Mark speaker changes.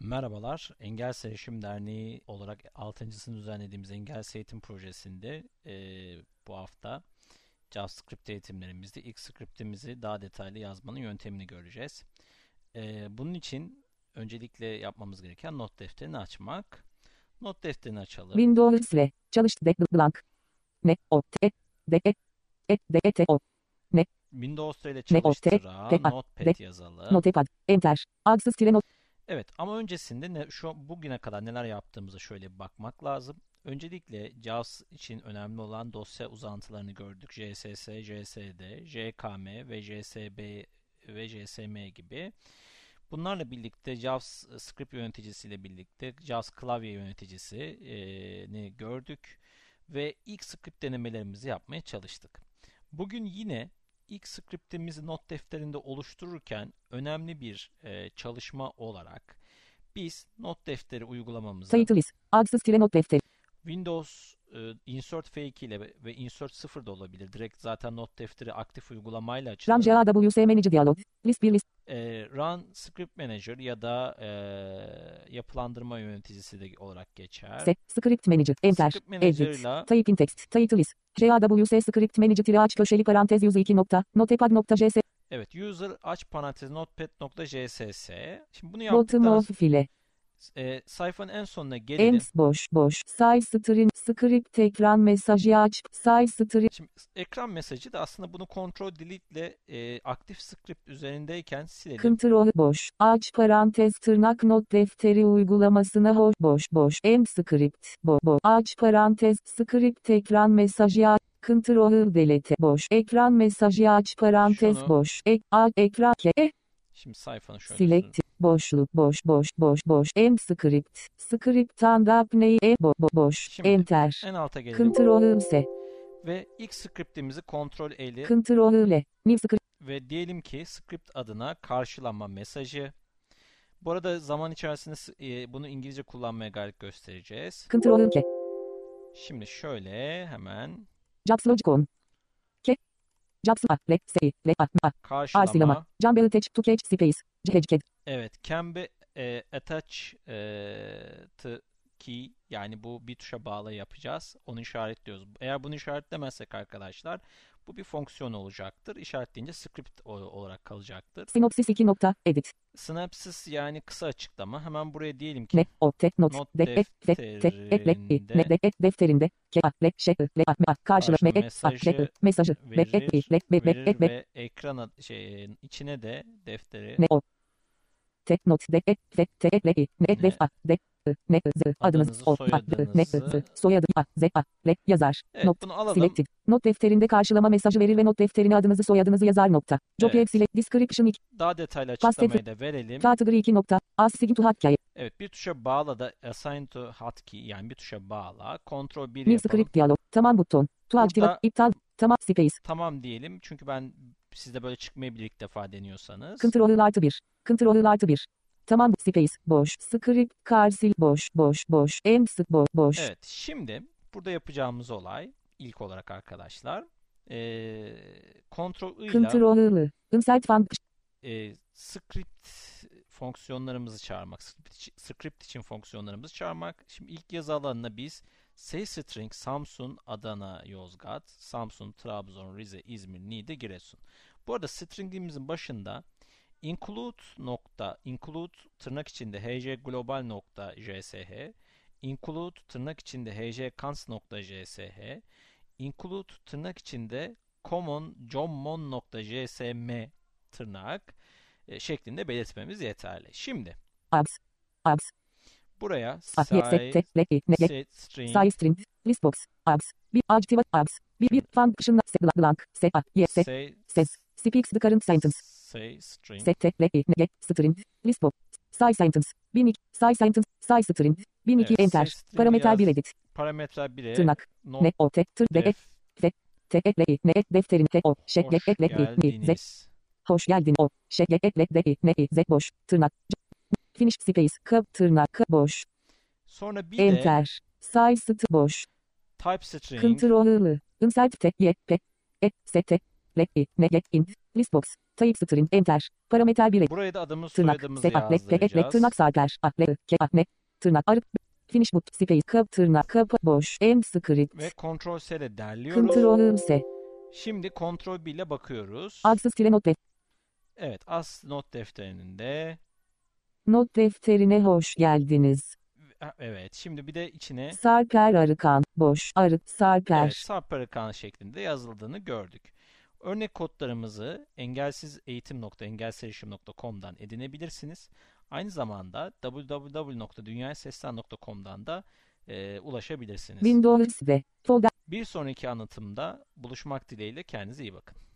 Speaker 1: Merhabalar. Engel Eğitim Derneği olarak 6.sını düzenlediğimiz Engel Eğitim Projesi'nde eee, bu hafta JavaScript eğitimlerimizde ilk scriptimizi daha detaylı yazmanın yöntemini göreceğiz. Eee, bunun için öncelikle yapmamız gereken not defterini açmak. Not defterini açalım.
Speaker 2: Windows ile çalıştı de blank. Ne o t de e e de e t o
Speaker 1: Windows'ta ile
Speaker 2: Ne o, te-
Speaker 1: çalıştıra
Speaker 2: te- a-
Speaker 1: Notepad yazalım.
Speaker 2: notepad enter adsız tire not
Speaker 1: Evet ama öncesinde ne, şu bugüne kadar neler yaptığımıza şöyle bir bakmak lazım. Öncelikle JAWS için önemli olan dosya uzantılarını gördük. JSS, JSD, JKM ve JSB ve JSM gibi. Bunlarla birlikte JAWS script yöneticisiyle birlikte JAWS klavye yöneticisini gördük ve ilk script denemelerimizi yapmaya çalıştık. Bugün yine ilk scriptimizi not defterinde oluştururken önemli bir e, çalışma olarak biz not defteri uygulamamızı
Speaker 2: title is adsız tire not defteri
Speaker 1: Windows e, Insert F2 ile ve- ve Insert 0 da olabilir. Direkt zaten not defteri aktif uygulamayla
Speaker 2: RAM
Speaker 1: açılır.
Speaker 2: JAWS Manager Dialog list bir list
Speaker 1: E, Run Script Manager ya da e, yapılandırma yöneticisi de olarak geçer.
Speaker 2: set script manager enter
Speaker 1: Script
Speaker 2: edit
Speaker 1: Manager'la
Speaker 2: type in text title is JAWS script manager tire aç köşeli parantez 102 nokta notepad nokta js
Speaker 1: evet user aç parantez notepad.jss. Şimdi bunu
Speaker 2: bottom
Speaker 1: yaptıktan
Speaker 2: of file
Speaker 1: e, sayfanın en sonuna gelelim.
Speaker 2: end boş boş size string script ekran mesajı aç size string
Speaker 1: Şimdi ekran mesajı da aslında bunu Ctrl Delete ile e, aktif script üzerindeyken silelim.
Speaker 2: Ctrl boş, aç parantez tırnak not defteri uygulamasına hoş boş boş, m script, bo bo, aç parantez script ekran mesajı aç, Ctrl delete boş, ekran mesajı aç parantez
Speaker 1: Şunu-
Speaker 2: boş, ek, a, ekran ke, e,
Speaker 1: Şimdi sayfanın şöyle üzerine-
Speaker 2: select, boşluk boş boş boş boş, m script, script and up neyi, e, bo bo boş,
Speaker 1: Şimdi,
Speaker 2: enter,
Speaker 1: en alta gelelim
Speaker 2: Ctrl s,
Speaker 1: ve ilk scriptimizi Ctrl L'i
Speaker 2: Ctrl l, new script,
Speaker 1: ve diyelim ki script adına karşılama mesajı. Bu arada zaman içerisinde s- e, bunu İngilizce kullanmaya gayret göstereceğiz.
Speaker 2: Ctrl k,
Speaker 1: Şimdi şöyle hemen
Speaker 2: jobs logicon, k, jobs a, le, s, le, a, a,
Speaker 1: karşılama.
Speaker 2: Arsilama. Can Belitek to catch space. Cehecet.
Speaker 1: Evet, can be e, attach e, to key yani bu bir tuşa bağlı yapacağız. Onu işaretliyoruz. Eğer bunu işaretlemezsek arkadaşlar bu bir fonksiyon olacaktır. İşaretleyince script o- olarak kalacaktır.
Speaker 2: Sinopsis 2 nokta. Edit.
Speaker 1: Synapsis yani kısa açıklama. Hemen buraya diyelim ki
Speaker 2: Ne. O. Te. Not.
Speaker 1: Not
Speaker 2: De. E. Te. Te. E. Le. I. Ne. De. E. Defterinde. Ke. A. Le. Şe. I. Le. A. Me. A. Karşıla. Me. E. A. Le. I. Mesajı. Be. E. I. Le. Be. Be. E.
Speaker 1: verir
Speaker 2: Be.
Speaker 1: ve ekrana şey içine de defteri
Speaker 2: Ne. O. Te. Not. De. E. Te. Te. E. Le. I. Ne.
Speaker 1: Ne.
Speaker 2: Def. A. De. I. Ne. I. Z. Adınız.
Speaker 1: Adınızı,
Speaker 2: O. A. I. Ne. I.
Speaker 1: soyadınızı.
Speaker 2: Z. Soyadı. A. Z. A. Le. Yazar.
Speaker 1: Evet,
Speaker 2: Not.
Speaker 1: bunu alalım.
Speaker 2: Selected. Not defterinde karşılama mesajı verir ve not defterine adınızı soyadınızı yazar nokta. Job
Speaker 1: Evet.
Speaker 2: Select Description 2.
Speaker 1: Daha detaylı
Speaker 2: Pastef-
Speaker 1: açıklamayı da verelim.
Speaker 2: Category 2 nokta. Assign to Hakkaya.
Speaker 1: Evet bir tuşa bağla da assign to hotkey yani bir tuşa bağla. Ctrl 1
Speaker 2: New
Speaker 1: yapalım.
Speaker 2: script diyalog. Tamam buton. To activate.
Speaker 1: Burada-
Speaker 2: iptal. Tamam space.
Speaker 1: Tamam diyelim. Çünkü ben sizde böyle çıkmayabilir ilk defa deniyorsanız.
Speaker 2: Ctrl artı 1. Ctrl artı 1. Tamam space. Boş. Script. Karsil. Boş. Boş. Boş. M. Sık. Boş. Boş.
Speaker 1: Evet şimdi burada yapacağımız olay ilk olarak arkadaşlar. Ee, Ctrl I ile
Speaker 2: Ctrl. Insert function.
Speaker 1: e, script fonksiyonlarımızı çağırmak, script için, script için fonksiyonlarımızı çağırmak. Şimdi ilk yazı alanına biz string Samsun, Adana, Yozgat, Samsun, Trabzon, Rize, İzmir, Niğde, Giresun. Bu arada stringimizin başında include nokta include tırnak içinde hc global nokta jsh include tırnak içinde hc cons nokta jsh include tırnak içinde common jommon nokta jsm tırnak e, şeklinde belirtmemiz yeterli. Şimdi
Speaker 2: Abs. Abs.
Speaker 1: buraya
Speaker 2: A. Y. S. T.
Speaker 1: size
Speaker 2: L. I. N. L.
Speaker 1: set string
Speaker 2: Size string. List box. Abs. Bir. Activate. Abs. Bir. Bir. Function. S. Blank, Blank. S. A. Y. S.
Speaker 1: say
Speaker 2: Ses. Speaks the current sentence.
Speaker 1: say string
Speaker 2: S. T. L. I. N. G. String. List box. Size sentence. 1002. Size sentence. Size string. 1002.
Speaker 1: Evet,
Speaker 2: Enter.
Speaker 1: size string
Speaker 2: Parameter
Speaker 1: biraz
Speaker 2: 1 edit.
Speaker 1: parametre 1'e
Speaker 2: Tırnak.
Speaker 1: not
Speaker 2: Ne. O. T. Tır. D. E.
Speaker 1: def
Speaker 2: T. E. L. I. N. E. Defterin. T. O. Ş. L.
Speaker 1: hoş
Speaker 2: E. L. I. N. Z.
Speaker 1: geldiniz.
Speaker 2: Hoş geldin o. Şekle ekle de i ne i z boş tırnak. C- Finish space kap tırnak kap, boş.
Speaker 1: Sonra bir de
Speaker 2: Enter. Size st boş.
Speaker 1: type string
Speaker 2: Ctrl I. Insert t y p. E s t. L i ne y in. Listbox. Type string. Enter. Parameter 1.
Speaker 1: Buraya da adımız
Speaker 2: Tırnak.
Speaker 1: soyadımızı
Speaker 2: Set akle. Te ekle.
Speaker 1: yazdıracağız.
Speaker 2: e, Tırnak saatler. Akle. Ke akle. Tırnak. Arıp. Finish but. Space. Kap. Tırnak. Kapa. Boş. M script.
Speaker 1: Ve Ctrl S ile derliyoruz.
Speaker 2: Ctrl S.
Speaker 1: Şimdi Ctrl B ile bakıyoruz.
Speaker 2: Adsız tire not def.
Speaker 1: Evet, as not defterinin de
Speaker 2: Not defterine hoş geldiniz.
Speaker 1: Ha, evet. Şimdi bir de içine
Speaker 2: Sarper Arıkan. Boş. Arık. Sarper.
Speaker 1: evet, sarp arakan şeklinde yazıldığını gördük. Örnek kodlarımızı engelsizeğitim.engelserişim.com'dan edinebilirsiniz. Aynı zamanda www.dünyaseslen.com'dan da e, ulaşabilirsiniz.
Speaker 2: Windows ve folder.
Speaker 1: Bir sonraki anlatımda buluşmak dileğiyle kendinize iyi bakın.